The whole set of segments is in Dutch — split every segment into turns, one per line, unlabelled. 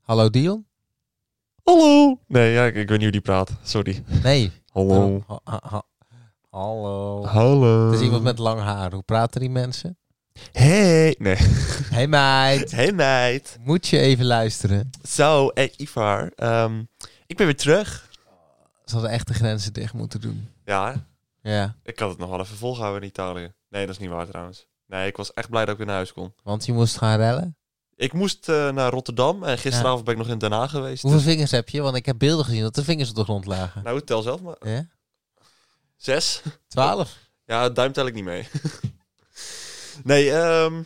Hallo Dion?
Hallo. Nee, ja, ik, ik weet niet hoe die praat. Sorry.
Nee.
Hallo.
Ha- ha- ha- Hallo.
Hallo.
Het is iemand met lang haar. Hoe praten die mensen?
Hey. Nee.
Hey meid,
Hey meid.
moet je even luisteren.
Zo, hey Ivar. Ehm, ik ben weer terug.
Ze hadden echt de grenzen dicht moeten doen.
Ja,
Ja,
ik had het nog wel even volgehouden in Italië. Nee, dat is niet waar trouwens. Nee, ik was echt blij dat ik weer naar huis kon.
want je moest gaan rellen.
Ik moest eh, naar Rotterdam en gisteravond ben ik nog in Den Haag geweest.
Hoeveel
Dus-
vingers heb je? Want ik heb beelden gezien dat de vingers op de grond lagen.
Nou, tel zelf maar.
Ja?
Zes.
Twaalf.
Ja, duim tel ik niet mee. nee, ehm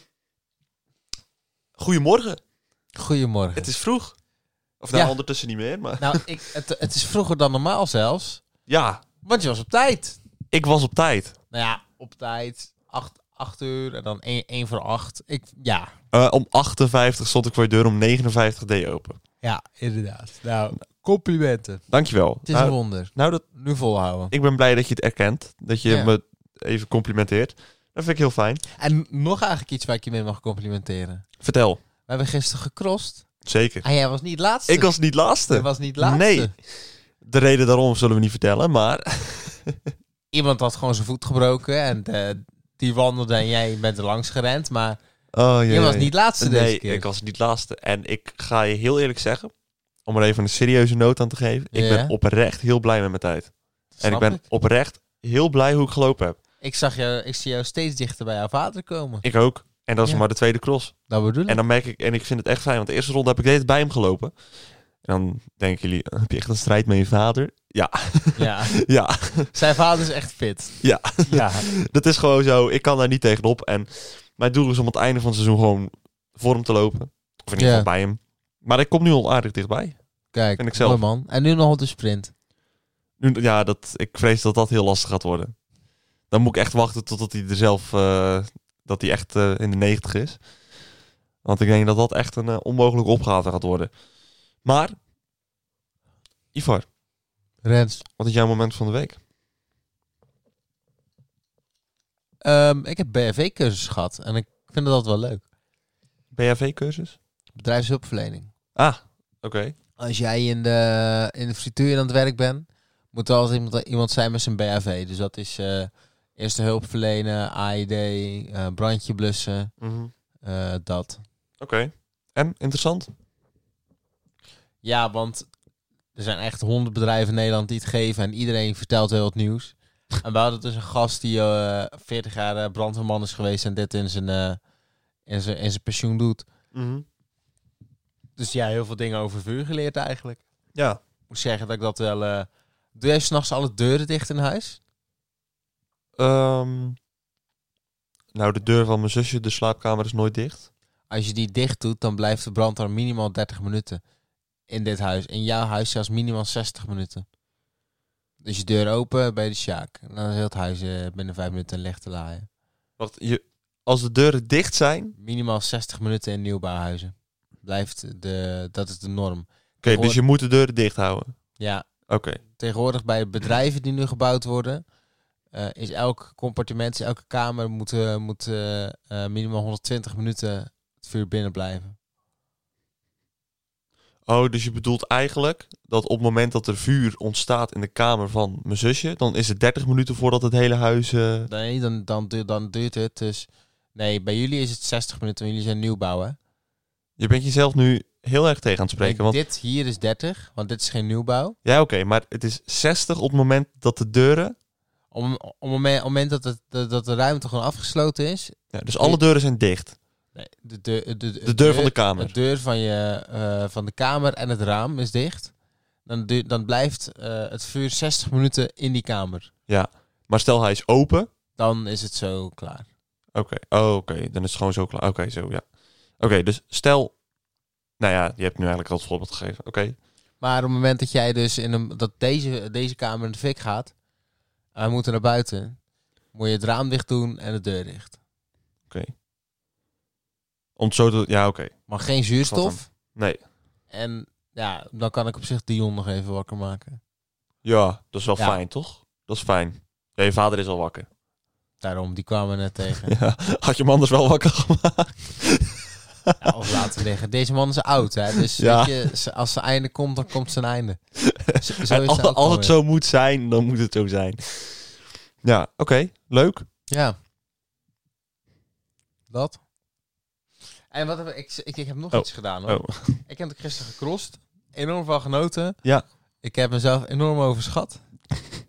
goedemorgen.
Goedemorgen.
Het is vroeg. Of nou,
Ja.
ondertussen niet meer, maar...
Nou, ik, het, het is vroeger dan normaal zelfs.
Ja,
Want je was op tijd.
ik was op tijd.
Nou ja, op tijd. Acht, acht uur en dan één, één voor acht. Ik, ja,
Eh, om 58 stond ik voor je deur, om 59 deed je open.
ja, inderdaad. Nou, complimenten.
Dankjewel.
Het is
nou,
een wonder.
nou dat,
Nu volhouden.
ik ben blij dat je het erkent. Dat je
Ja.
me even complimenteert. Dat vind ik heel fijn.
En nog eigenlijk iets waar ik je mee mag complimenteren.
Vertel.
We hebben gisteren gecrossed.
Zeker.
En jij was niet laatste.
Ik was niet
Jij
laatste.
was niet laatste.
Nee. De reden daarom zullen we niet vertellen, maar...
Iemand had gewoon zijn voet gebroken en eh, die wandelde en jij bent er langs gerend. Maar
Oh,
je was niet laatste
nee,
deze keer.
ik was niet laatste. En ik ga je heel eerlijk zeggen, om er even een serieuze noot aan te geven. Ik
Ja.
ben oprecht heel blij met mijn tijd. en ik
Snap
ben oprecht heel blij hoe ik gelopen heb.
Ik zag jou, ik zie jou steeds dichter bij jouw vader komen.
Ik ook. En dat is
Ja.
maar de tweede cross.
Dat bedoel ik.
En dan merk ik, en ik vind het echt fijn, want de eerste ronde heb ik deze bij hem gelopen. En dan denken jullie, heb je echt een strijd met je vader? Ja,
Ja.
ja,
Zijn vader is echt fit.
Ja.
ja.
dat is gewoon zo. Ik kan daar niet tegenop. En mijn doel is om aan het einde van het seizoen gewoon voor hem te lopen. Of in ieder
Ja.
geval bij hem. Maar ik kom nu al aardig dichtbij.
Kijk,
Vind ik zelf.
mooi man. En nu nog op de sprint.
Nu, ja, dat, ik vrees dat dat heel lastig gaat worden. Dan moet ik echt wachten totdat hij er zelf, eh, dat hij echt eh, in de 90 is. Want ik denk dat dat echt een eh, onmogelijke opgave gaat worden. Maar, Ivar,
Rens.
wat is jouw moment van de week?
Ehm, ik heb BFV-cursus gehad en ik vind dat wel leuk.
BHV-cursus?
Bedrijfshulpverlening.
Ah, oké.
Als jij in de, in de frituur aan het werk bent, moet er altijd iemand, iemand zijn met zijn BHV. Dus dat is eh, eerste hulp verlenen, AID, eh, brandje blussen, eh, dat.
Oké. En, interessant?
Ja, want er zijn echt honderd bedrijven in Nederland die het geven en iedereen vertelt heel het nieuws. En we hadden dus een gast die eh 40 jaar eh, brandweerman is geweest en dit in zijn, eh, in zijn, in zijn pensioen doet. Dus ja, heel veel dingen over vuur geleerd eigenlijk.
Ja.
Ik moet zeggen dat ik dat wel... eh doe jij s'nachts alle deuren dicht in huis?
Ehm, nou, de deur van mijn zusje, de slaapkamer is nooit dicht.
Als je die dicht doet, dan blijft de brandweer minimaal 30 minuten in dit huis. In jouw huis zelfs minimaal 60 minuten. Dus je deur open bij de sjaak. En dan is heel het huis eh, binnen 5 minuten licht te laaien.
Want je, als de deuren dicht zijn...
Minimaal 60 minuten in nieuwbouwhuizen. Blijft de, dat is de norm.
Oké, dus je moet de deuren dicht houden.
Ja,
Oké.
tegenwoordig bij bedrijven die nu gebouwd worden, eh, is elk compartiment, is elke kamer moet, eh, moet eh, eh, minimaal 120 minuten het vuur binnen blijven.
Oh, dus je bedoelt eigenlijk dat op het moment dat er vuur ontstaat in de kamer van mijn zusje... dan is het 30 minuten voordat het hele huis... eh,
Nee, dan, dan, du- dan duurt het dus. Nee, bij jullie is het 60 minuten, want jullie zijn nieuwbouw, hè?
Je bent jezelf nu heel erg tegen aan het spreken.
Nee,
Want...
Dit hier is 30, want dit is geen nieuwbouw.
Ja, oké, maar het is 60 op het moment dat de deuren...
Om, om, om het moment dat, het, dat- dat de ruimte gewoon afgesloten is.
Ja, dus alle deuren zijn dicht.
Nee, de, de, de, de,
De deur van de kamer.
De deur van, je, eh, van de kamer en het raam is dicht. Dan, du- dan blijft eh, het vuur 60 minuten in die kamer.
Maar stel hij is open. Oké.
Dan is het zo klaar.
Oh, oké. Dan is het gewoon zo klaar. Oké, zo ja. Oké, dus stel. Nou ja, je hebt nu eigenlijk al het voorbeeld gegeven. Oké.
Maar op het moment dat jij dus in een, dat deze, deze kamer in de fik gaat, en we moeten naar buiten, moet je het raam dicht doen en de deur dicht.
Om het zo te. Ja, oké.
Maar geen
Snap
zuurstof.
Nee.
En ja, dan kan ik op zich Dion nog even wakker maken.
Ja, dat is wel
Ja.
fijn, toch? Dat is fijn. Ja, je vader is al wakker.
Daarom, die kwamen we net tegen.
Ja. Had je hem anders wel wakker gemaakt?
Ja, of laten we liggen. Deze man is oud, hè? Dus
Ja.
weet je, z- als zijn einde komt, dan komt zijn einde. Z- Zo,
En
is
als,
het ook
als
alweer.
het zo moet zijn, dan moet het zo zijn. Ja, oké. leuk.
Ja. Dat. En wat heb ik, ik, ik, ik heb nog
Oh.
iets gedaan hoor.
Oh.
Ik heb de gisteren gecrossed. Enorm van genoten.
Ja.
Ik heb mezelf enorm overschat.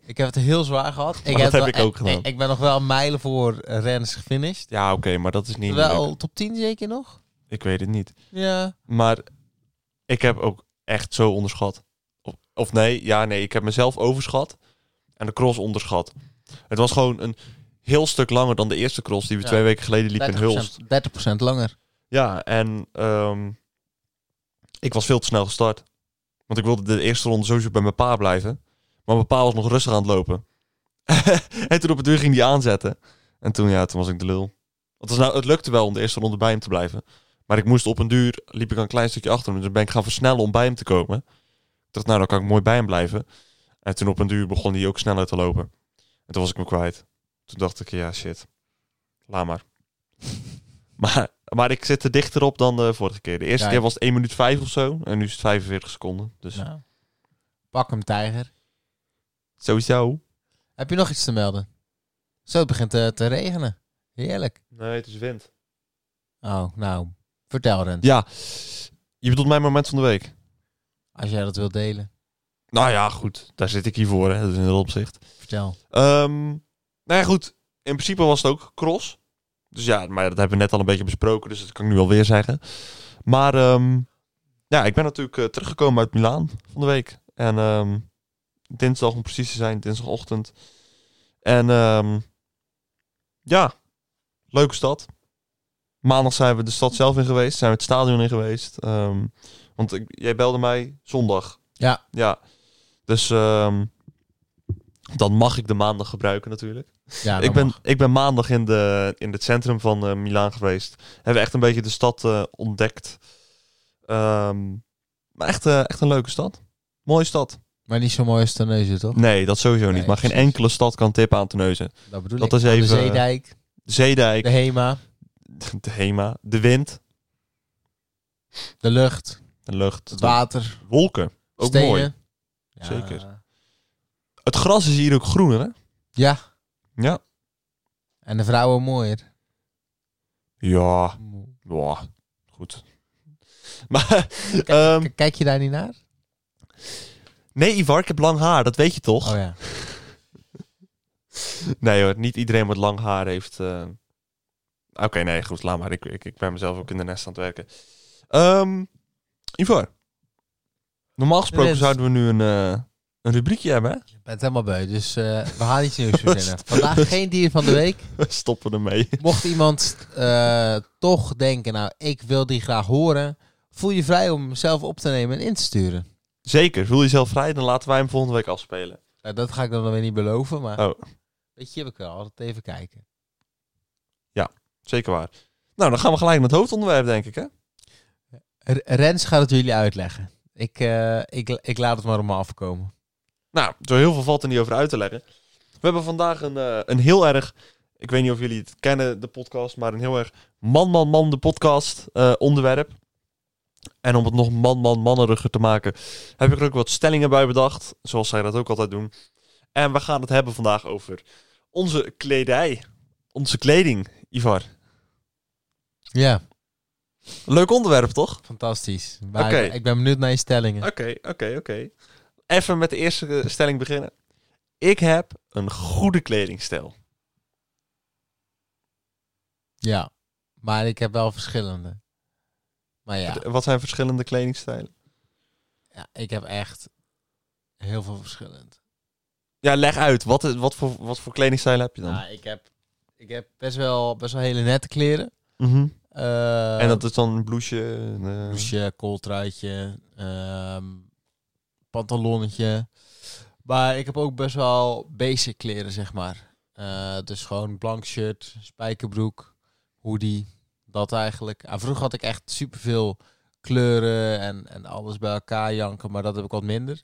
ik heb het heel zwaar gehad. Ik
Oh, dat heb
wel-
ik ook gedaan.
Ik, ik ben nog wel mijlen voor eh, rens gefinished.
Ja, oké, maar dat is niet leuk.
Wel top 10 zeker nog.
Ik weet het niet.
Ja.
Maar ik heb ook echt zo onderschat. Of, of nee, ja, nee. Ik heb mezelf overschat en de cross onderschat. Het was gewoon een heel stuk langer dan de eerste cross die we
Ja.
twee weken geleden liepen in Hulst.
30%, 30% langer.
Ja, en ehm, ik was veel te snel gestart. Want ik wilde de eerste ronde sowieso bij mijn pa blijven. Maar mijn pa was nog rustig aan het lopen. en toen op het uur ging hij aanzetten. En toen, ja, toen was ik de lul. Want het, is nou, het lukte wel om de eerste ronde bij hem te blijven. Maar ik moest op een duur, liep ik een klein stukje achter hem. Dus ben ik gaan versnellen om bij hem te komen. Ik dacht, nou, dan kan ik mooi bij hem blijven. En toen op een duur begon hij ook sneller te lopen. En toen was ik me kwijt. Toen dacht ik, ja, shit. Laat maar. Maar, maar ik zit er dichter op dan de vorige keer. De eerste
Ja,
keer
ik-
was het 1 minuut 5 of zo. En nu is het 45 seconden. Dus
Ja. Nou. Pak hem, tijger.
sowieso.
Heb je nog iets te melden? Zo, het begint eh, te regenen. Heerlijk.
Nee, het is wind.
Oh, nou. Vertel, Rens.
Ja, je bedoelt mijn moment van de week.
Als jij dat wilt delen.
Nou ja, goed. Daar zit ik hier voor, hè. Dus in dat opzicht.
Vertel.
Ehm, nou ja, goed. In principe was het ook cross. Dus ja, maar dat hebben we net al een beetje besproken. Dus dat kan ik nu alweer zeggen. Maar ehm, ja, ik ben natuurlijk eh, teruggekomen uit Milaan van de week. En ehm, dinsdag om precies te zijn, dinsdagochtend. En ehm, ja, leuke stad. Maandag zijn we de stad zelf in geweest. Zijn we het stadion in geweest. Ehm, want ik- jij belde mij zondag.
Ja.
Ja. Dus ehm, dan mag ik de maandag gebruiken natuurlijk.
Ja, dan
ik, ben,
mag.
ik ben maandag in, de, in het centrum van eh, Milaan geweest. Hebben we echt een beetje de stad eh, ontdekt. Ehm, maar echt, eh, echt een leuke stad. Mooie stad.
Maar niet zo mooi als Terneuzen, toch?
Nee, dat sowieso
Nee,
niet. Maar geen
precies.
enkele stad kan tippen aan Terneuzen.
Dat bedoel
Dat
ik.
is
Aan
even-
De Zeedijk,
Zeedijk,
de Hema,
de Hema, de wind,
de lucht,
de lucht,
het water,
wolken. Ook
stenen.
mooi.
Ja.
Zeker. Het gras is hier ook groener, hè?
Ja.
Ja.
En de vrouwen mooier.
Ja, ja goed. Maar, ehm,
K- Kijk je daar niet naar?
nee Ivar, ik heb lang haar, dat weet je toch?
Oh ja.
Nee hoor, niet iedereen wat lang haar heeft. eh. Oké, nee, goed, laat maar. Ik, ik, ik ben mezelf ook in de nest aan het werken. Ehm Ivar, normaal gesproken
Rens.
zouden we nu een, eh, een rubriekje hebben, hè?
Ik ben het helemaal beu, dus eh, we gaan iets nieuws verzinnen. Vandaag geen dier van de week.
We stoppen ermee.
Mocht iemand eh, toch denken, nou, ik wil die graag horen, voel je vrij om hem zelf op te nemen en in te sturen.
Zeker, voel jezelf vrij, dan laten wij hem volgende week afspelen.
Nou, dat ga ik dan weer niet beloven, maar
Oh.
weet je, we kunnen altijd even kijken.
Zeker waar. Nou, dan gaan we gelijk naar het hoofdonderwerp, denk ik, hè?
R- Rens gaat het jullie uitleggen. Ik, eh, ik, ik laat het maar op me afkomen.
Nou, zo heel veel valt er niet over uit te leggen. We hebben vandaag een, eh, een heel erg, ik weet niet of jullie het kennen, de podcast, maar een heel erg man, man, man, de podcast eh, onderwerp. En om het nog man, man, manneriger te maken, heb ik er ook wat stellingen bij bedacht, zoals zij dat ook altijd doen. En we gaan het hebben vandaag over onze kledij, onze kleding, Ivar.
Ja,
Leuk onderwerp, toch?
fantastisch. Maar
Oké.
ik, ik ben benieuwd naar je stellingen.
Oké, oké, oké. Even met de eerste eh, stelling beginnen. Ik heb een goede kledingstijl.
Ja, maar ik heb wel verschillende. Maar ja,
D- Wat zijn verschillende kledingstijlen?
ja ik heb echt heel veel verschillend.
Ja, leg uit. Wat, is- wat, voor, wat voor kledingstijl heb je dan?
Ja, Nou, ik heb, ik heb best, wel, best wel hele nette kleren.
Mhm.
Eh,
en dat is dan een blouseje? een, eh,
Bloesje, kooltruitje, ehm, pantalonnetje. Maar ik heb ook best wel basic kleren, zeg maar. Eh, dus gewoon blank shirt, spijkerbroek, hoodie, dat eigenlijk. En vroeger had ik echt superveel kleuren en, en alles bij elkaar janken, maar dat heb ik wat minder.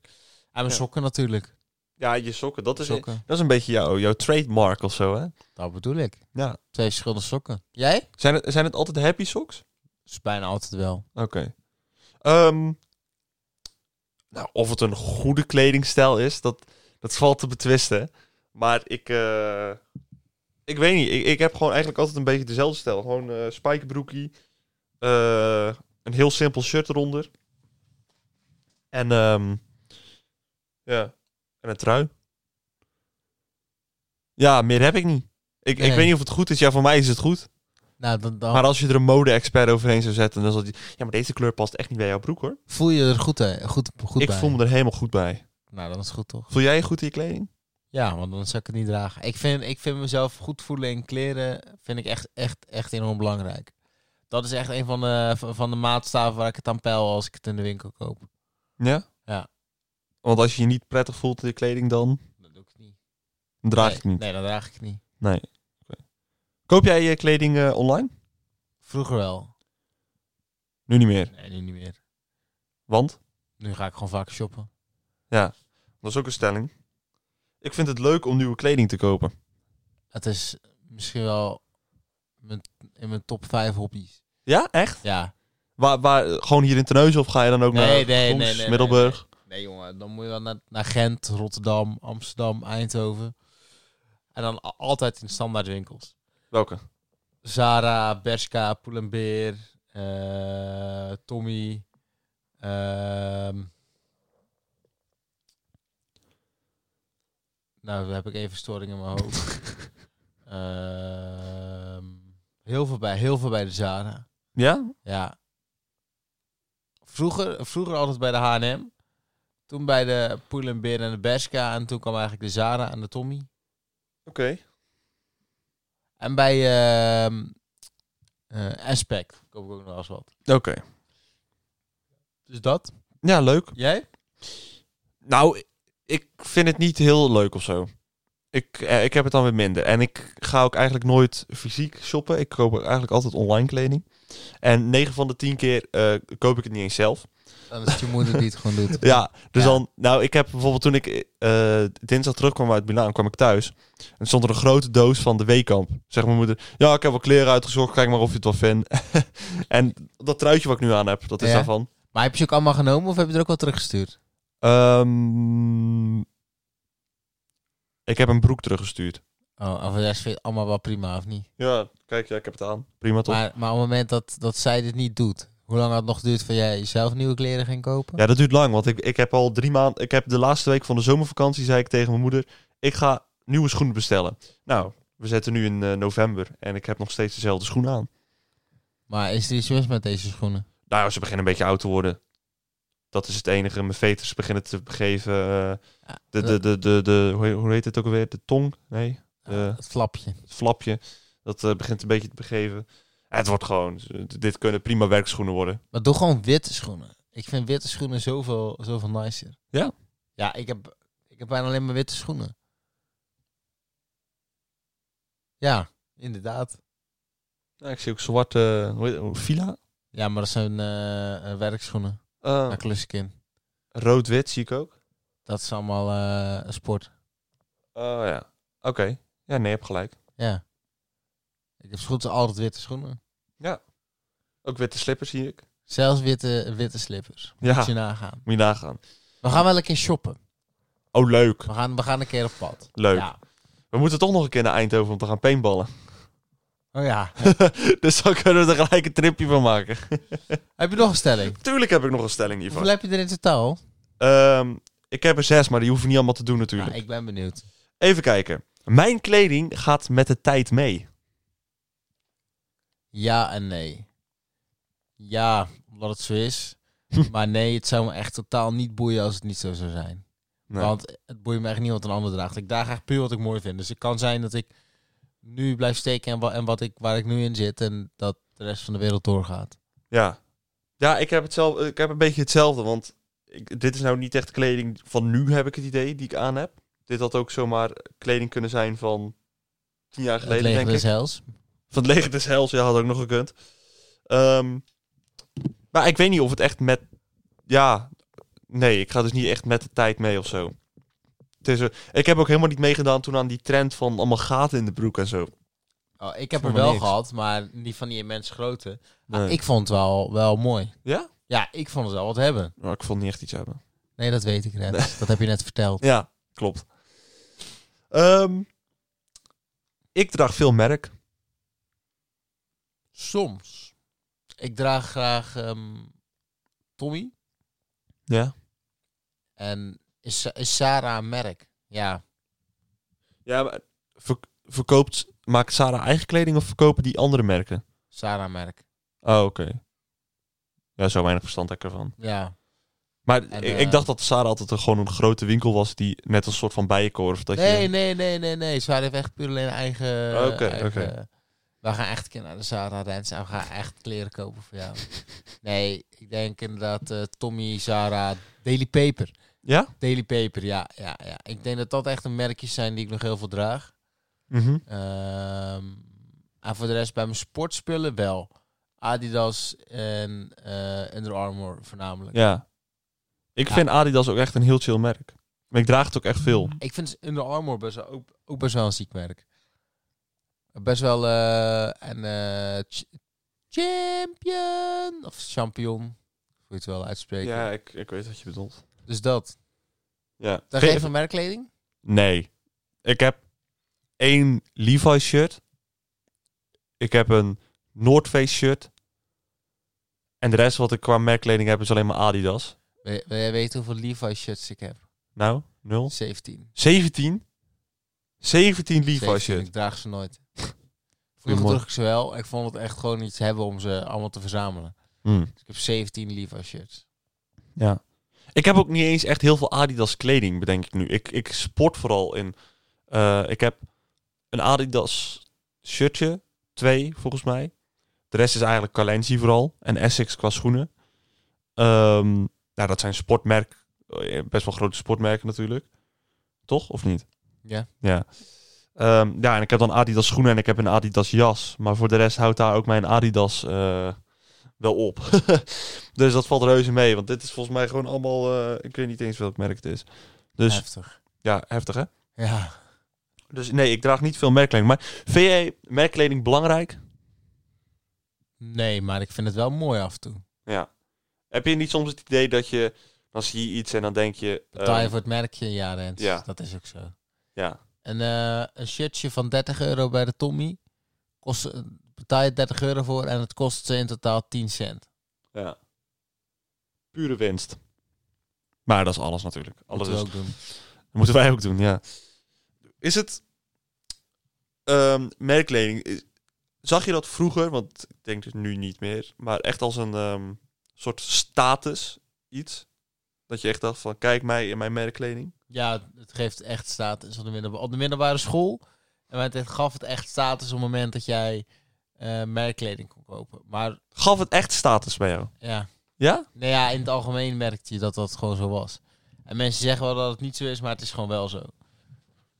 En mijn
Ja.
sokken natuurlijk.
Ja, je sokken. Dat is,
Sokken,
dat is een beetje jouw, jouw trademark of zo, hè?
dat bedoel ik.
Ja.
Twee verschillende sokken. Jij?
Zijn het, zijn het altijd happy socks?
is bijna altijd wel.
Oké. Ehm, nou, of het een goede kledingstijl is, dat, dat valt te betwisten. Maar ik, eh, ik weet niet. Ik, ik heb gewoon eigenlijk altijd een beetje dezelfde stijl. Gewoon eh spijkerbroekie, eh, een heel simpel shirt eronder. En, ehm, ja, en een trui. Ja, meer heb ik niet. Ik, ik
Nee.
weet niet of het goed is. Ja, voor mij is het goed.
Nou, dan, dan
Oh. Maar als je er een mode-expert overheen zou zetten, dan zal die... Ja, maar deze kleur past echt niet bij jouw broek, hoor.
voel je er goed, hè, goed, goed
ik
bij.
voel me er helemaal goed bij.
Nou, dan is het goed toch?
Voel jij je goed in je kleding?
Ja, want dan zou ik het niet dragen. Ik vind, ik vind mezelf goed voelen in kleren vind ik echt, echt, echt enorm belangrijk. Dat is echt een van de, van van de maatstaven waar ik het aan peil als ik het in de winkel koop.
Ja?
Ja.
Want als je je niet prettig voelt in je kleding, dan
Dat doe ik niet.
dan draag
nee,
je het niet.
Nee, dat draag ik het niet.
Koop jij je kleding eh, online?
Vroeger wel.
Nu niet meer.
Nee, nu niet meer.
Want?
Nu ga ik gewoon vaak shoppen.
Dat is ook een stelling. Ik vind het leuk om nieuwe kleding te kopen.
Het is misschien wel mijn, in mijn top 5 hobby's.
Ja, echt?
Ja.
Waar, waar, gewoon hier in Terneuzen of ga je dan ook
Nee,
naar
nee, nee,
Goes,
nee, nee,
Middelburg?
Nee, jongen, dan moet je wel naar, naar Gent, Rotterdam, Amsterdam, Eindhoven. En dan a- altijd in standaard winkels.
Welke?
Zara, Bershka, Pull&Bear, eh, Tommy. ehm. nou, daar heb ik even storing in mijn hoofd. Ehm, heel, veel bij, heel veel bij de Zara.
Ja?
Ja. Vroeger, vroeger altijd bij de H&M. Toen bij de Pull&Bear en de Bershka. En toen kwam eigenlijk de Zara en de Tommy.
Oké.
En bij ehm eh, Aspect koop ik ook nog wel eens wat.
Oké.
Dus dat.
Ja, leuk.
Jij?
Nou, ik vind het niet heel leuk of zo. Ik, eh, ik heb het dan weer minder. En ik ga ook eigenlijk nooit fysiek shoppen. Ik koop ook eigenlijk altijd online kleding. En 9 van de 10 keer eh, koop ik het niet eens zelf.
Dan is het je moeder die het gewoon doet.
Ja, dus
Ja.
dan... Nou, ik heb bijvoorbeeld toen ik eh, dinsdag terugkwam uit Milaan, kwam ik thuis. En stond er een grote doos van de Weekamp. Zeg mijn moeder, ja, ik heb wel kleren uitgezocht. Kijk maar of je het wel vindt. en dat truitje wat ik nu aan heb, dat is
Ja.
daarvan.
Maar heb je ze ook allemaal genomen of heb je er ook wel teruggestuurd?
Ehm, ik heb een broek teruggestuurd.
Oh, of de rest vindt het allemaal wel prima of niet?
Ja, kijk, ja, ik heb het aan. Prima toch?
Maar, maar op het moment dat, dat zij dit niet doet... Hoe lang had het nog duurt van jij zelf nieuwe kleren ging kopen?
Ja, dat duurt lang, want ik, ik heb al drie maanden... Ik heb de laatste week van de zomervakantie, zei ik tegen mijn moeder... Ik ga nieuwe schoenen bestellen. Nou, we zitten nu in eh, november en ik heb nog steeds dezelfde schoenen aan.
Maar is er iets mis met deze schoenen?
Nou, ja, ze beginnen een beetje oud te worden. Dat is het enige. Mijn veters beginnen te begeven. eh,
Ja,
de, de, de, de, de, hoe heet- hoe heet het ook alweer? De tong? Nee, de-
Ah, Het flapje.
het flapje. Dat eh, begint een beetje te begeven. En het wordt gewoon... Dit kunnen prima werkschoenen worden.
Maar doe gewoon witte schoenen. Ik vind witte schoenen zoveel, zoveel nicer.
Ja?
Ja, ik heb, ik heb bijna alleen maar witte schoenen. Ja, inderdaad.
Ja, ik zie ook zwarte... hoe heet- hoe- Fila?
Ja, maar dat zijn eh, eh, werkschoenen.
Eh,
Naar kluskin.
Rood-wit zie ik ook.
Dat is allemaal eh, sport.
Oh ja. Oké. Ja, nee, je hebt gelijk.
Ja. Ik heb zo goed als altijd witte schoenen.
Ook witte slippers zie ik.
Zelfs witte, witte slippers.
Ja.
Moet je nagaan.
Moet je nagaan.
We gaan wel een keer shoppen.
Oh, leuk.
We gaan, we gaan een keer op pad.
Leuk.
Ja.
We moeten toch nog een keer naar Eindhoven om te gaan paintballen.
Oh ja.
dus dan kunnen we er gelijk een tripje van maken.
heb je nog een stelling?
Tuurlijk heb ik nog een stelling
Hoeveel
hiervan.
heb je er in totaal?
Ehm, ik heb er zes, maar die hoeven niet allemaal te doen natuurlijk.
Nou, ik ben benieuwd.
Even kijken. Mijn kleding gaat met de tijd mee.
Ja en nee. Ja, omdat het zo is. maar nee, het zou me echt totaal niet boeien als het niet zo zou zijn.
Nee.
Want het boeit me echt niet wat een ander draagt. Ik draag echt puur wat ik mooi vind. Dus het kan zijn dat ik nu blijf steken en, wa- en wat ik, waar ik nu in zit. En dat de rest van de wereld doorgaat.
Ja. Ja, ik heb, het zelf, ik heb een beetje hetzelfde. Want ik, dit is nou niet echt kleding van nu, heb ik het idee, die ik aan heb. Dit had ook zomaar kleding kunnen zijn van tien jaar
Het
geleden,
leger
denk
is
ik.
hels.
Van het leger des hels, ja, had ook nog gekund. Ehm, maar ik weet niet of het echt met... Ja, nee, ik ga dus niet echt met de tijd mee of zo. Het is, eh, ik heb ook helemaal niet meegedaan toen aan die trend van allemaal gaten in de broek en zo.
Oh, ik heb
Vond
er
me
wel
niks.
gehad, maar niet van die immens grote. Maar
Nee.
ik vond het wel, wel mooi.
Ja?
Ja, ik vond het wel wat hebben.
Maar ik vond niet echt iets hebben.
Nee, dat weet ik net. Dat heb je net verteld.
Ja, klopt. Ehm, ik draag veel merk.
Soms. Ik draag graag ehm, Tommy.
Ja.
En is, is Sarah een merk? Ja.
Ja, maar verk- verkoopt, maakt Sarah eigen kleding of verkopen die andere merken?
Sarah merk.
Oh, oké. Ja, zo weinig verstand heb ik ervan.
Ja.
Maar
En,
ik,
eh,
ik dacht dat Sarah altijd een, gewoon een grote winkel was die net een soort van bijenkorf. Dat
Nee,
je,
nee, nee, nee, nee. Sarah heeft echt puur alleen eigen...
Oké,
eigen-
oké.
We gaan echt een keer naar de Sarah Rens en we gaan echt kleren kopen voor jou. nee, ik denk inderdaad eh, Tommy, Sarah, Daily Paper.
Ja?
Daily Paper, ja, ja, ja. Ik denk dat dat echt een merkjes zijn die ik nog heel veel draag.
Mhm.
Ehm, en voor de rest bij mijn sportspullen wel. Adidas en eh, Under Armour voornamelijk.
Ja. Ik
Ja.
vind Adidas ook echt een heel chill merk. Maar ik draag het ook echt veel.
Ik vind Under Armour best wel, ook, ook best wel een ziek merk. Best wel eh, en eh, ch- champion of champion, hoe je het wel uitspreken.
ik, ik weet wat je bedoelt.
Dus dat.
Ja.
Dan
Ge-
geef je merkkleding?
Nee. Ik heb één Levi's shirt. Ik heb een North Face shirt. En de rest wat ik qua merkkleding heb is alleen maar Adidas.
Wil je- wil jij weten hoeveel Levi's shirts ik heb?
Nou, nul.
17.
17? 17 Levi's
17,
shit.
Ik draag ze nooit. Vroeger
Goedemorgen.
droeg ik ze wel. Ik vond het echt gewoon iets hebben om ze allemaal te verzamelen.
Hmm.
Dus ik heb 17 Levi's shirts.
Ja. Ik heb ook niet eens echt heel veel Adidas kleding, bedenk ik nu. Ik, ik sport vooral in. eh, ik heb een Adidas shirtje, twee volgens mij. De rest is eigenlijk Calensi vooral en Essex qua schoenen. Ehm, nou, dat zijn sportmerk, eh, best wel grote sportmerken natuurlijk. Toch of niet?
Ja.
Ja. Ehm, ja, en ik heb dan Adidas schoenen en ik heb een Adidas jas. Maar voor de rest houdt daar ook mijn Adidas eh, wel op. dus dat valt reuze mee. Want dit is volgens mij gewoon allemaal... eh, ik weet niet eens welk merk het is. Dus
Heftig.
ja, heftig hè?
Ja.
Dus nee, ik draag niet veel merkkleding. Maar vind jij merkkleding belangrijk?
Nee, maar ik vind het wel mooi af en toe.
Ja. Heb je niet soms het idee dat je... Dan zie je iets en dan denk je... eh,
Betaal je voor het merkje? Ja, Rens.
ja.
Dat is ook zo.
ja.
En eh, een shirtje van 30 euro bij de Tommy. Kost, eh, betaal je 30 euro voor en het kost ze in totaal 10 cent.
ja. Pure winst. Maar dat is alles natuurlijk. Alles
Moeten
is
we ook doen.
Dat moeten wij ook doen, ja. Is het ehm, merkkleding? is- Zag je dat vroeger, want ik denk dus nu niet meer, maar echt als een ehm, soort status iets? Dat je echt dacht van, kijk mij in mijn merkkleding.
Ja, het geeft echt status op de, middelba- op de middelbare school. En het- het gaf het echt status op het moment dat jij eh, merkkleding kon kopen. Maar
Gaf het echt status bij jou?
ja,
Ja?
nou ja, in het algemeen merkte je dat dat gewoon zo was. En mensen zeggen wel dat het niet zo is, maar het is gewoon wel zo.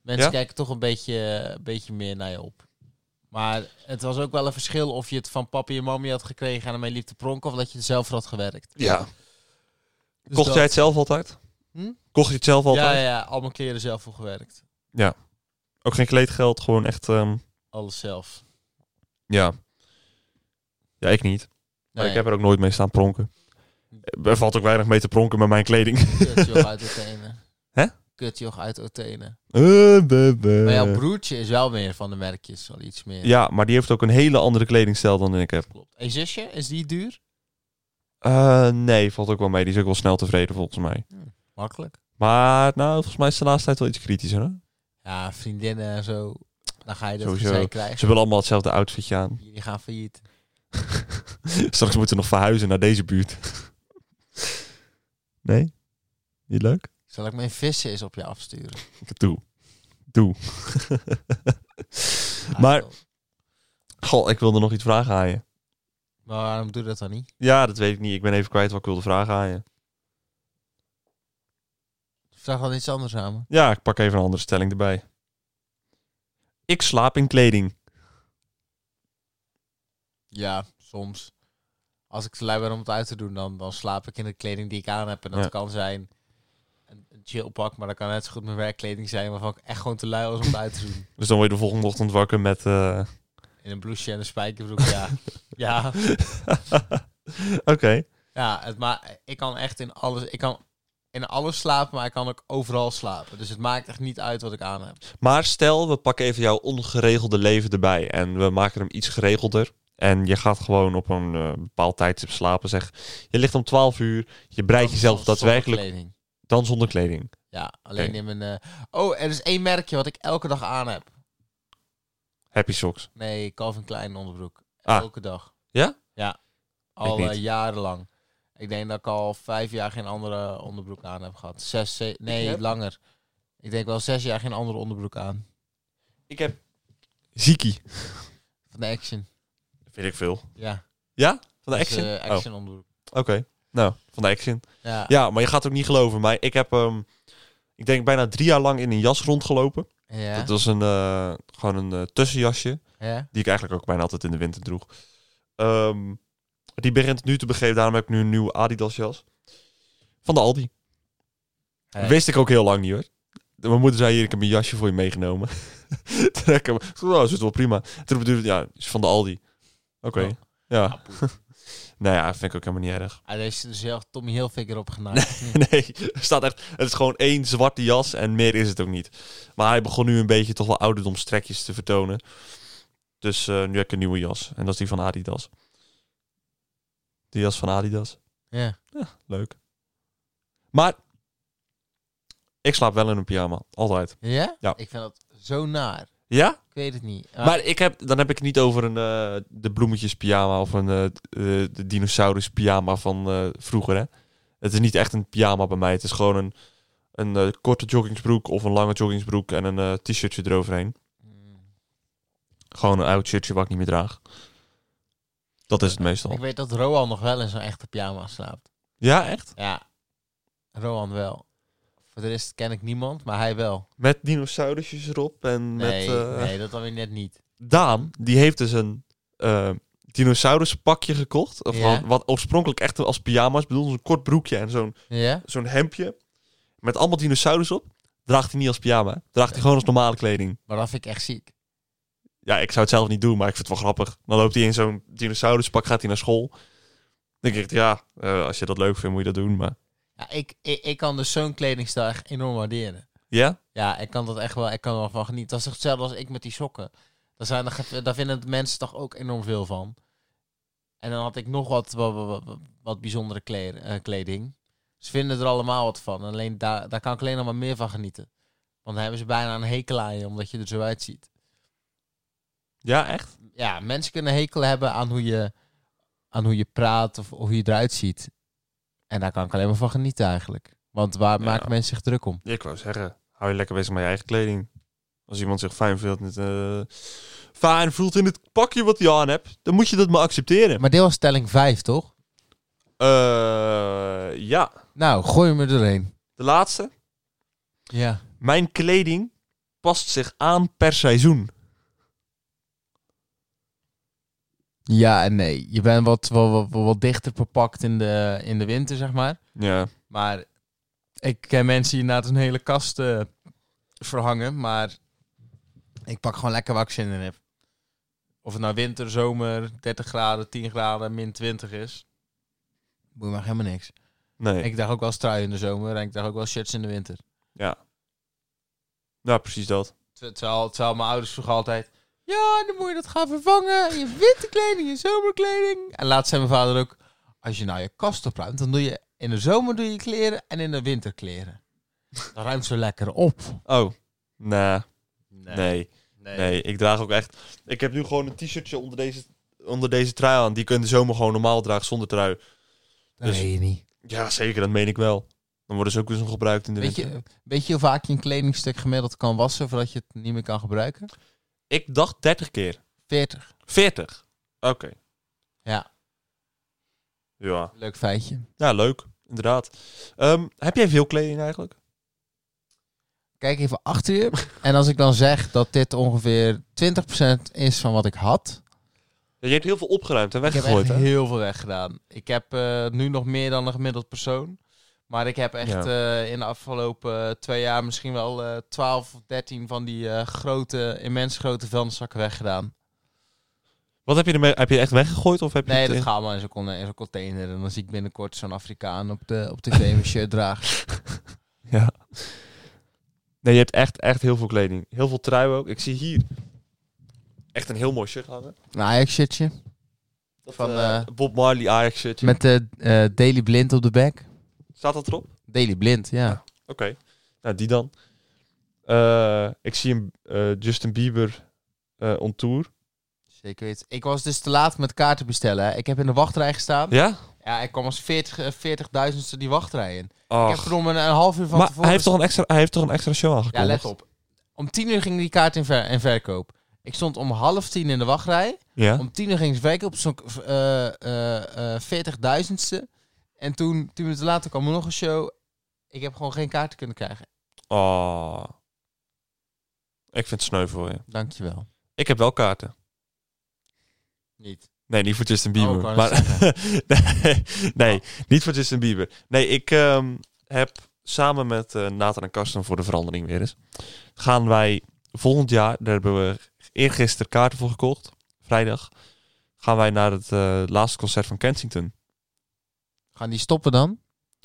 Mensen
Ja?
kijken toch een beetje, een beetje meer naar je op. Maar het was ook wel een verschil of je het van papa en mami had gekregen en ermee liep te pronken, of dat je er zelf voor had gewerkt.
Ja.
Dus
Kocht
dat-
jij het zelf altijd?
Hm?
Kocht je het zelf altijd?
Ja, ja, al mijn kleren zelf voor gewerkt.
Ook geen kleedgeld, gewoon echt... ehm,
Alles zelf.
ja. Ja, ik niet. Maar
Nee,
ik heb er ook nooit mee staan pronken. Er valt ook weinig mee te pronken met mijn kleding.
Kutjoch uit Athene.
Hè?
Kutjoch uit Athene.
Eh, buh, buh.
Maar jouw broertje is wel meer van de merkjes, wel iets meer.
Ja, maar die heeft ook een hele andere kledingstijl dan ik heb.
Klopt. En je zusje, is die duur?
Eh, nee, valt ook wel mee. Die is ook wel snel tevreden volgens mij.
Makkelijk.
Maar nou, volgens mij is ze de laatste tijd wel iets kritischer. Hè?
Ja, vriendinnen en zo. Dan ga je dat
Sowieso.
zij krijgen.
Ze willen allemaal hetzelfde outfitje aan.
Jullie gaan failliet.
Straks moeten we nog verhuizen naar deze buurt. nee? Niet leuk?
Zal ik mijn vissen eens op je afsturen?
Doe. Doe.
Ah,
Maar-
joh.
Goh, ik wilde nog iets vragen aan je.
Maar waarom doe je dat dan niet?
Ja, dat weet ik niet. Ik ben even kwijt wat ik wilde vragen aan je.
Vraag dan iets anders aan me.
Ja, ik pak even een andere stelling erbij. Ik slaap in kleding.
Ja, soms. Als ik te lui ben om het uit te doen, dan, dan slaap ik in de kleding die ik aan heb. En dat
Ja.
kan zijn een, een chillpak, maar dat kan net zo goed mijn werkkleding zijn waarvan ik echt gewoon te lui was om het uit te doen.
Dus dan word je de volgende ochtend wakker met... eh,
In een blouseje en een spijkerbroek, ja. ja,
Oké.
ja het maar ik kan echt in alles... Ik kan in alles slapen, maar ik kan ook overal slapen. Dus het maakt echt niet uit wat ik aan heb.
Maar stel, we pakken even jouw ongeregelde leven erbij en we maken hem iets geregelder. En je gaat gewoon op een eh, bepaald tijdstip slapen. Zeg, je ligt om 12 uur, je breidt jezelf
Zonder
daadwerkelijk
kleding.
dan zonder kleding.
Ja, alleen in mijn... eh, Oh, er is één merkje wat ik elke dag aan heb.
Happy socks.
Nee, Calvin Klein onderbroek.
Ah.
Elke dag.
Ja?
Ja. Al
niet.
eh, jarenlang. Ik denk dat ik al vijf jaar geen andere onderbroek aan heb gehad. Zes, ze- nee,
heb-
langer. Ik denk wel zes jaar geen andere onderbroek aan.
Ik heb Ziki.
Van de Action.
Vind ik veel.
Ja.
Ja? Van de
Dus,
Action?
eh, action onderbroek.
Oh, Oké. Nou, van de Action.
Ja. ja.
Ja, maar je gaat het ook niet geloven. Maar ik heb, ehm, ik denk, bijna drie jaar lang in een jas rondgelopen.
Ja.
Dat was een, eh, gewoon een eh, tussenjasje.
ja.
Die ik eigenlijk ook bijna altijd in de winter droeg. Ehm, die begint nu te begeven. Daarom heb ik nu een nieuwe Adidas jas. Van de Aldi.
Hey.
Wist ik ook heel lang niet hoor. Mijn moeder zei hier, ik heb een jasje voor je meegenomen. Toen heb ik hem, oh, is het wel prima. Toen bedoelde ik, ja, is van de Aldi. Oké,
Oh.
ja. Nou ja, vind ik ook helemaal niet erg.
Hij Ah, is er zelf Tommy Hilfiger op genaaid.
Nee, er staat echt, het is gewoon één zwarte jas en meer is het ook niet. Maar hij begon nu een beetje toch wel ouderdomstrekjes te vertonen. Dus eh, nu heb ik een nieuwe jas en dat is die van Adidas. Die jas van Adidas,
ja.
leuk. Maar ik slaap wel in een pyjama, altijd.
Ja?
Ja.
Ik vind dat zo naar.
Ja?
Ik weet het niet.
Ah. Maar ik heb, dan heb ik het niet over een, eh, de bloemetjes pyjama of een eh, eh, de dinosaurus pyjama van eh, vroeger. Hè? Het is niet echt een pyjama bij mij. Het is gewoon een, een eh, korte joggingsbroek of een lange joggingsbroek en een eh, t-shirtje eroverheen.
Mm.
Gewoon een oud shirtje wat ik niet meer draag. Dat is het meestal.
Ik weet dat Roan nog wel in zo'n echte pyjama slaapt.
Ja, echt?
Ja, Rohan wel. Voor de rest ken ik niemand, maar hij wel.
Met dinosaurusjes erop en
Nee,
met... eh,
nee dat dan weer net niet.
Daan, die heeft dus een eh dinosauruspakje gekocht. Of
Ja.
wat- Wat oorspronkelijk echt als pyjama's bedoeld. dus Een kort broekje en zo'n
Ja?
zo'n hemdje met allemaal dinosaurus op. Draagt hij niet als pyjama. Draagt hij gewoon als normale kleding.
Maar dat vind ik echt ziek.
Ja, ik zou het zelf niet doen, maar ik vind het wel grappig. Dan loopt hij in zo'n dinosauruspak, gaat hij naar school. Dan denk ik, ja, eh, als je dat leuk vindt, moet je dat doen. Maar
Ja, ik, ik, ik kan dus zo'n kledingstijl echt enorm waarderen.
ja,
Ja, ik kan dat echt wel, ik kan er wel van genieten. Dat is toch hetzelfde als ik met die sokken. Daar, zijn, er- daar vinden de mensen toch ook enorm veel van. En dan had ik nog wat, wat, wat- wat- wat bijzondere kleer- eh, kleding. Ze vinden er allemaal wat van. Alleen daar, daar kan ik alleen nog maar meer van genieten. Want dan hebben ze bijna een hekel aan je, omdat je er zo uitziet.
ja, echt?
ja, mensen kunnen hekel hebben aan hoe je, aan hoe je praat of, of hoe je eruit ziet. En daar kan ik alleen maar van genieten eigenlijk. Want waar
Ja.
maken mensen zich druk om?
Ik wou zeggen, hou je lekker bezig met je eigen kleding. Als iemand zich fijn voelt, met, eh, fijn voelt in het pakje wat hij aan hebt, dan moet je dat maar accepteren.
Maar dit was stelling 5, toch?
Eh, ja,
Nou, gooi me doorheen.
de laatste.
Ja.
Mijn kleding past zich aan per seizoen.
Ja en nee. Je bent wat, wat, wat, wat dichter verpakt in de, in de winter, zeg maar.
Ja.
Maar ik ken mensen die inderdaad hun hele kast eh, verhangen. Maar ik pak gewoon lekker waar ik zin in heb. Of het nou winter, zomer, 30 graden, 10 graden, min 20 is. Boeit me echt helemaal niks.
Nee.
Ik draag ook wel strui in de zomer en ik draag ook wel shirts in de winter.
Ja, Nou, precies dat.
Ter- Terwijl, terwijl mijn ouders vroegen altijd... Ja, dan moet je dat gaan vervangen. Je winterkleding, je zomerkleding. En laatst zei mijn vader ook... Als je nou je kast opruimt, dan doe je... In de zomer doe je kleren en in de winter kleren. Dat ruimt zo lekker op.
Oh. Nee, nee, nee,
Nee.
Ik draag ook echt... Ik heb nu gewoon een t-shirtje onder deze, onder deze trui aan. Die kun je in de zomer gewoon normaal dragen zonder trui.
Dat
Dus-
weet je niet.
Ja, zeker. Dat meen ik wel. Dan worden ze ook weer zo gebruikt in de
Weet
winter.
je, weet je hoe vaak je een kledingstuk gemiddeld kan wassen voordat je het niet meer kan gebruiken?
Ik dacht 30 keer.
40.
40? Oké.
Ja.
Ja.
Leuk feitje.
Ja, leuk. Inderdaad. Ehm, heb jij veel kleding eigenlijk?
Kijk even achter je. En als ik dan zeg dat dit ongeveer 20% is van wat ik had.
Ja, je hebt heel veel opgeruimd en
Ik heb
weggegooid,
echt
hè?
heel veel weggedaan. Ik heb eh, nu nog meer dan een gemiddeld persoon. Maar ik heb echt
Ja.
eh, in de afgelopen twee jaar misschien wel eh 12 of 13 van die eh, grote, immens grote vuilniszakken weggedaan.
Wat heb je ermee? Heb je echt weggegooid? Of heb je
Nee,
het
dat
in-
gaat maar in zo'n con- in zo'n container. En dan zie ik binnenkort zo'n Afrikaan op de, op tv een shirt dragen.
Ja. Nee, je hebt echt, echt heel veel kleding. Heel veel trui ook. Ik zie hier echt een heel mooi shirt hangen.
Een Ajax-shirtje.
Dat,
Van,
eh,
eh,
Bob Marley Ajax shirtje.
Met eh eh, Daily Blind op de back.
Staat dat erop? Oké.
Daily Blind, ja.
Nou, die dan. Eh, ik zie een eh, Justin Bieber eh on tour.
Zeker weten. Ik was dus te laat met kaarten bestellen. hè. Ik heb in de wachtrij gestaan.
Ja?
Ja, ik kwam als 40, eh, 40.000ste die wachtrij in. Ik heb
Ach.
er om een, een half uur van tevoren...
Maar
dus-
hij heeft, toch een extra, hij heeft toch een extra show
Ja,
aangekondigd?
let op. Om tien uur ging die kaart in, ver- in verkoop. Ik stond om half tien in de wachtrij.
Ja?
Om tien uur ging ze verkoop. Zo'n eh eh, eh, 40.000ste. En toen, tien minuten later kwam er nog een show. Ik heb gewoon geen kaarten kunnen krijgen.
Oh. Ik vind het sneu voor je.
Dankjewel.
Ik heb wel kaarten.
Niet.
Nee, niet voor
Oh,
Justin Bieber.
ik wou net Oh.
maar, nee, nee, niet voor Justin Bieber. Nee, ik ehm, heb samen met eh, Nathan en Karsten voor de verandering weer eens. Gaan wij volgend jaar, daar hebben we eergisteren kaarten voor gekocht. Vrijdag. Gaan wij naar het eh, laatste concert van Kensington.
Gaan die stoppen dan?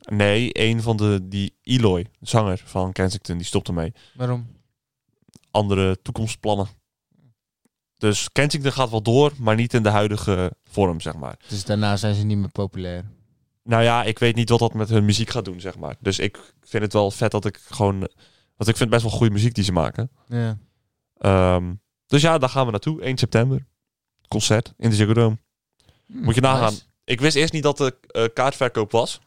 Nee, een van de, die Eloy, zanger van Kensington, die stopte mee.
Waarom?
andere toekomstplannen. Dus Kensington gaat wel door, maar niet in de huidige vorm, zeg maar.
Dus daarna zijn ze niet meer populair.
Nou ja, ik weet niet wat dat met hun muziek gaat doen, zeg maar. Dus ik vind het wel vet dat ik gewoon... Want ik vind best wel goede muziek die ze maken.
Ja.
Ehm, dus ja, daar gaan we naartoe. 1 september. Concert in de Ziggo Dome. Moet je nagaan.
Hm, Nice.
Ik wist eerst niet dat de eh, kaartverkoop was.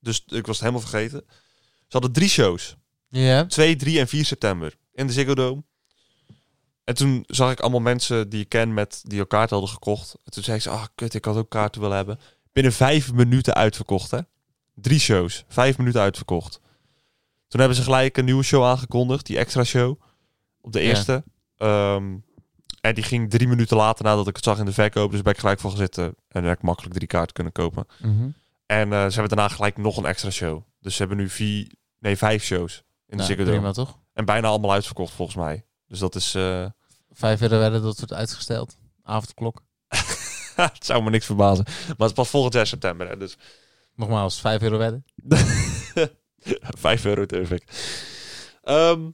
Dus ik was het helemaal vergeten. Ze hadden drie shows.
Ja.
2, 3 en 4 september in de Ziggo Dome. En toen zag ik allemaal mensen die ik ken met die al kaarten hadden gekocht. En toen zei ik ze, ah kut, ik had ook kaarten willen hebben. Binnen vijf minuten uitverkocht, hè. Drie shows, vijf minuten uitverkocht. Toen hebben ze gelijk een nieuwe show aangekondigd, die extra show. Op de
Ja.
eerste. Ehm, en die ging drie minuten later nadat ik het zag in de verkoop. Dus ben ik gelijk voor gezitten. En dan heb ik makkelijk drie kaarten kunnen kopen.
Mhm.
En eh, ze hebben daarna gelijk nog een extra show. Dus ze hebben nu vier, nee vijf shows in de
Nou,
Ziggo Dome.
prima toch?
En bijna allemaal uitverkocht volgens mij. Dus dat is. eh,
Vijf euro werden dat wordt uitgesteld. Avondklok.
het zou me niks verbazen. Maar het was volgend jaar september. Hè, dus
Nogmaals, vijf euro werden.
5 euro durf ik. Ehm,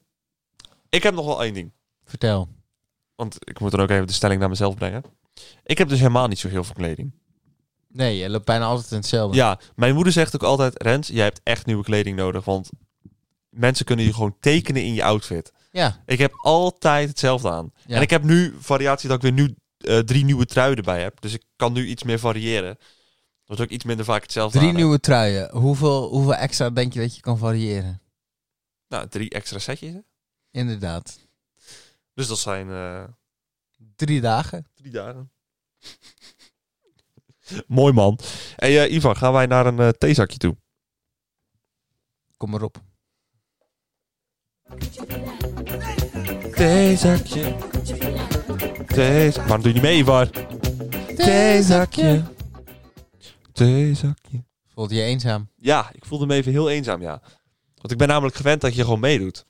ik heb nog wel één ding.
Vertel.
Want ik moet dan ook even de stelling naar mezelf brengen. Ik heb dus helemaal niet zo heel veel kleding.
Nee, je loopt bijna altijd in hetzelfde.
Ja, mijn moeder zegt ook altijd: Rens, jij hebt echt nieuwe kleding nodig. Want mensen kunnen je gewoon tekenen in je outfit.
Ja.
Ik heb altijd hetzelfde aan.
Ja.
En ik heb nu variatie dat ik weer nu eh, drie nieuwe truien erbij heb. Dus ik kan nu iets meer variëren. Dat ik iets minder vaak hetzelfde
Drie
aan heb.
nieuwe truien. Hoeveel, hoeveel extra denk je dat je kan variëren?
Nou, drie extra setjes. hè.
Inderdaad.
Dus dat zijn eh,
Drie dagen.
drie dagen. Mooi man. Hey eh, Ivan, gaan wij naar een eh, theezakje toe?
Kom maar op.
Theezakje. Theez... Waarom doe je niet mee, Ivar? Theezakje.
Voelt je eenzaam?
Ja, ik voelde me even heel eenzaam, ja. Want ik ben namelijk gewend dat je gewoon meedoet.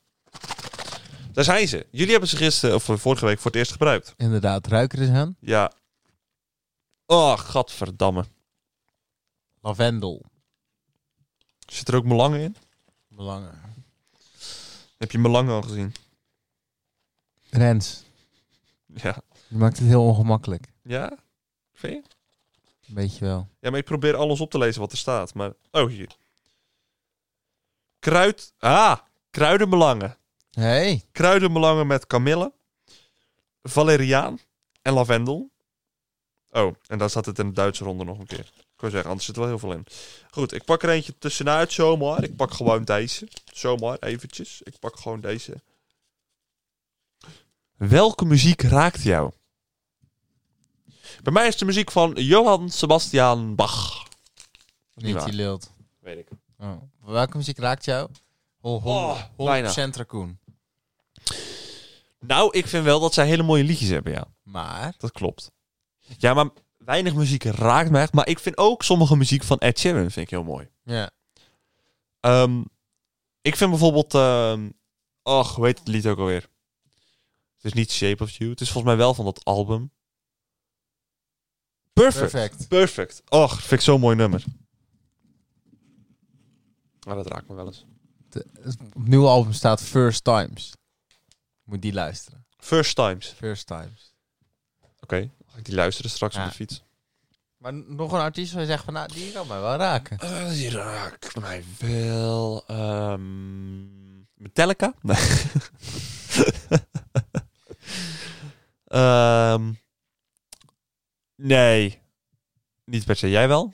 Daar zijn ze. Jullie hebben ze gisteren, of eh, vorige week, voor het eerst gebruikt.
Inderdaad. Ruik er eens aan.
Ja. Oh, gadverdamme.
Lavendel.
Zit er ook belangen in?
Belangrijk.
Heb je belangen al gezien?
Rens.
Ja.
Je maakt het heel ongemakkelijk.
Ja? Vind je?
Weet je wel.
Ja, maar ik probeer alles op te lezen wat er staat. Maar, oh, hier. Kruid, ah, kruidenbelangen.
Hey.
Kruidenbelangen met kamille, valeriaan en lavendel. Oh, en daar staat het in de Duitse ronde nog een keer. Ik wil zeggen, anders zit er wel heel veel in. Goed, ik pak er eentje tussenuit zomaar. Ik pak gewoon deze. Zomaar, eventjes. Ik pak gewoon deze. Welke muziek raakt jou? Bij mij is de muziek van Johann Sebastian Bach.
Niet
waar.
die lult.
Weet ik.
Oh. Welke muziek raakt jou? Hol, hol,
Oh, bijna.
100% raccoon.
Nou, ik vind wel dat zij hele mooie liedjes hebben, ja.
Maar...
Dat klopt. Ja, maar weinig muziek raakt me echt. Maar ik vind ook sommige muziek van Ed Sheeran vind ik heel mooi.
Ja.
Ehm, ik vind bijvoorbeeld... ehm och, hoe heet het lied ook alweer? Het is niet Shape of You. Het is volgens mij wel van dat album. Perfect.
Perfect.
Perfect. Och, vind ik zo'n mooi nummer. Maar dat raakt me wel eens.
Op nieuwe album staat First Times. Moet die luisteren.
First Times.
First Times.
Oké, ga ik die luisteren straks
Ja.
op de fiets.
Maar n- nog een artiest waar je zegt van, nou, die kan mij wel raken.
Eh, die raakt mij wel. ehm, Metallica? Nee. Ehm, nee. Niet per se. Jij wel?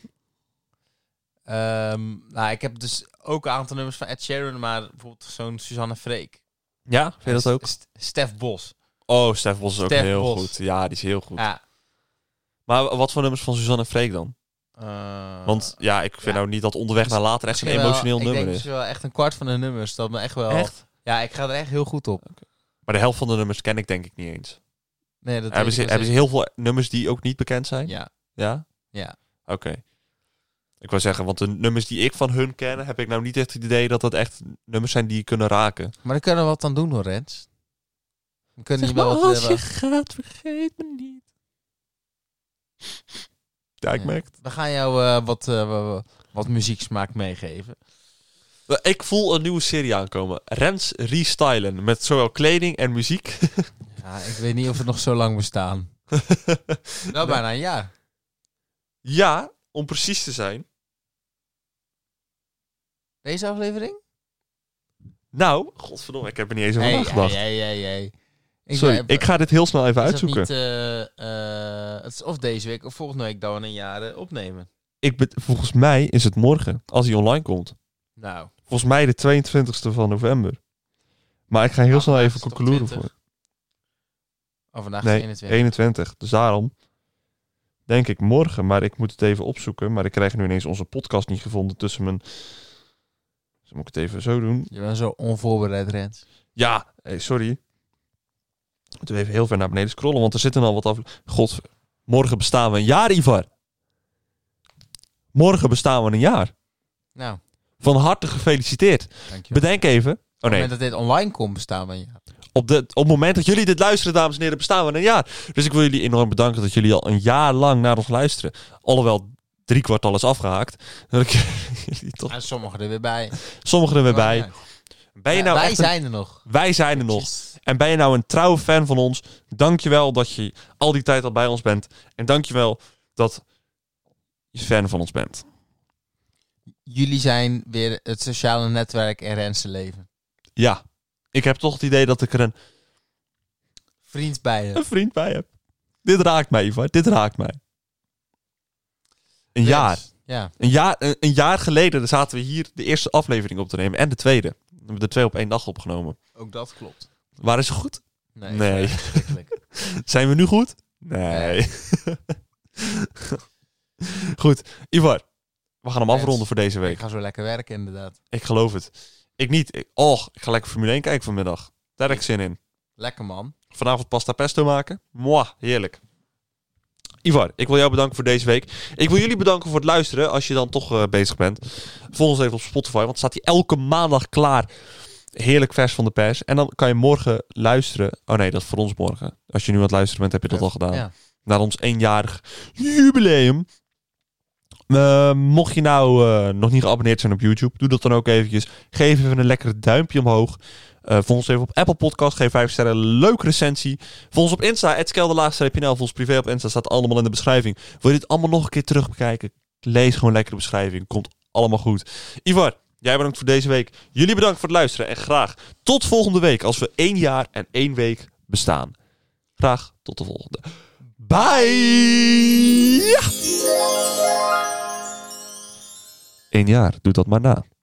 Ehm, nou, ik heb dus ook een aantal nummers van Ed Sheeran, maar bijvoorbeeld zo'n Suzanne Freek.
Ja, vind je dat ook?
St- Stef Bos.
Oh, Stef Bos is ook
Stef
heel
Bos.
goed. Ja, die is heel goed.
Ja.
Maar wat voor nummers van Suzanne en Freek dan?
eh,
Want ja, ik vind
ja.
nou niet dat onderweg naar later echt een
misschien wel-
emotioneel
Ik
nummer
denk
is.
misschien wel echt een kwart van de nummers. Dat me echt wel...
Echt?
Ja, ik ga er echt heel goed op.
Maar de helft van de nummers ken ik denk ik niet eens.
Nee, dat
Hebben
weet
ze,
ik wel
hebben ze
zeker.
heel veel nummers die ook niet bekend zijn?
Ja.
Ja?
Ja.
Oké. Ik wou zeggen, want de nummers die ik van hun ken, heb ik nou niet echt het idee dat dat echt nummers zijn die je kunnen raken.
Maar dan kunnen we wat aan doen hoor, Rens. We kunnen hier wel wat... eh, we-
gaat, vergeet me niet. Ja, ik
Ja.
merk het.
We gaan jou eh, wat, eh, wa- wa- wat muzieksmaak meegeven.
Nou, Ik voel een nieuwe serie aankomen. Rens Restylen, met zowel kleding en muziek.
Ja, ik weet niet of we nog zo lang bestaan. Nou, bijna een jaar.
ja, om precies te zijn.
Deze aflevering?
Nou, godverdomme, ik heb er niet eens over
Hey,
nagedacht.
hey, hey, hey, hey. Ik
Sorry,
ben-
ik ga dit heel snel even
is dat
uitzoeken.
Niet, eh, eh, het is of deze week of volgende week dan we een jaar eh, opnemen.
Ik be- volgens mij is het morgen, als hij online komt.
Nou,
Volgens mij de 22e van november. Maar ik ga heel
Nou,
snel
vandaag
even
is het op
concluderen
20.
voor.
oh, vandaag
Nee,
is 21.
21. Dus daarom denk ik morgen, maar ik moet het even opzoeken. Maar ik krijg nu ineens onze podcast niet gevonden tussen mijn... Dus moet ik het even zo doen.
Je bent zo onvoorbereid, Rens.
Ja, hey, sorry. Moeten we even heel ver naar beneden scrollen, want er zitten al wat af. God, morgen bestaan we een jaar, Ivar. Morgen bestaan we een jaar.
Nou,
Van harte gefeliciteerd.
dankjewel.
Bedenk even. Oh
Op het
nee,
moment dat dit online komt, bestaan we een jaar.
op, de, op het moment dat jullie dit luisteren, dames en heren, bestaan we een jaar. Dus ik wil jullie enorm bedanken dat jullie al een jaar lang naar ons luisteren. Alhoewel drie kwart al is afgehaakt. Dat ik jullie toch...
En sommigen er weer bij. Oh,
Sommigen er weer bij.
Ja,
Ben je nou
wij
echt een-
zijn er nog.
wij zijn er nog. En ben je nou een trouwe fan van ons? Dankjewel dat je al die tijd al bij ons bent. En dankjewel dat je fan van ons bent.
Jullie zijn weer het sociale netwerk en Rens' leven.
Ja, ik heb toch het idee dat ik er een,
Vriend bij je.
een vriend bij heb. Dit raakt mij, Ivar. Dit raakt mij. Een
Rens.
jaar.
Ja.
Een jaar, een, een jaar geleden zaten we hier de eerste aflevering op te nemen. En de tweede. We hebben de twee op één dag opgenomen.
Ook dat klopt.
Waren ze goed?
Nee.
Nee.
echt verschrikkelijk.
Zijn we nu goed? Nee. goed, Ivar. We gaan hem
Yes.
afronden voor deze
Ik
week.
ga zo lekker werken, inderdaad.
Ik geloof het. Ik niet. Ik, och, ik ga lekker Formule 1 kijken vanmiddag. Daar heb ik zin in.
Lekker, man.
Vanavond pasta pesto maken. Mwah, heerlijk. Ivar, ik wil jou bedanken voor deze week. Ik wil jullie bedanken voor het luisteren, als je dan toch eh, bezig bent. Volg ons even op Spotify, want staat die elke maandag klaar. Heerlijk vers van de pers. En dan kan je morgen luisteren. Oh nee, dat is voor ons morgen. Als je nu aan het luisteren bent, heb je dat al gedaan.
Ja.
Naar ons eenjarig jubileum. Eh, mocht je nou eh, nog niet geabonneerd zijn op YouTube, doe dat dan ook eventjes. Geef even een lekkere duimpje omhoog. Eh volg ons even op Apple Podcast. Geef 5 sterren. Leuke recensie. Volg ons op Insta. @skelderlaagstreepje.nl. Volg ons privé op Insta. Staat allemaal in de beschrijving. Wil je dit allemaal nog een keer terug bekijken? Lees gewoon lekker de beschrijving. Komt allemaal goed. Ivar, jij bedankt voor deze week. Jullie bedankt voor het luisteren. En graag tot volgende week. Als we één jaar en één week bestaan. Graag tot de volgende. Bye! Ja. Eén jaar. Doe dat maar na.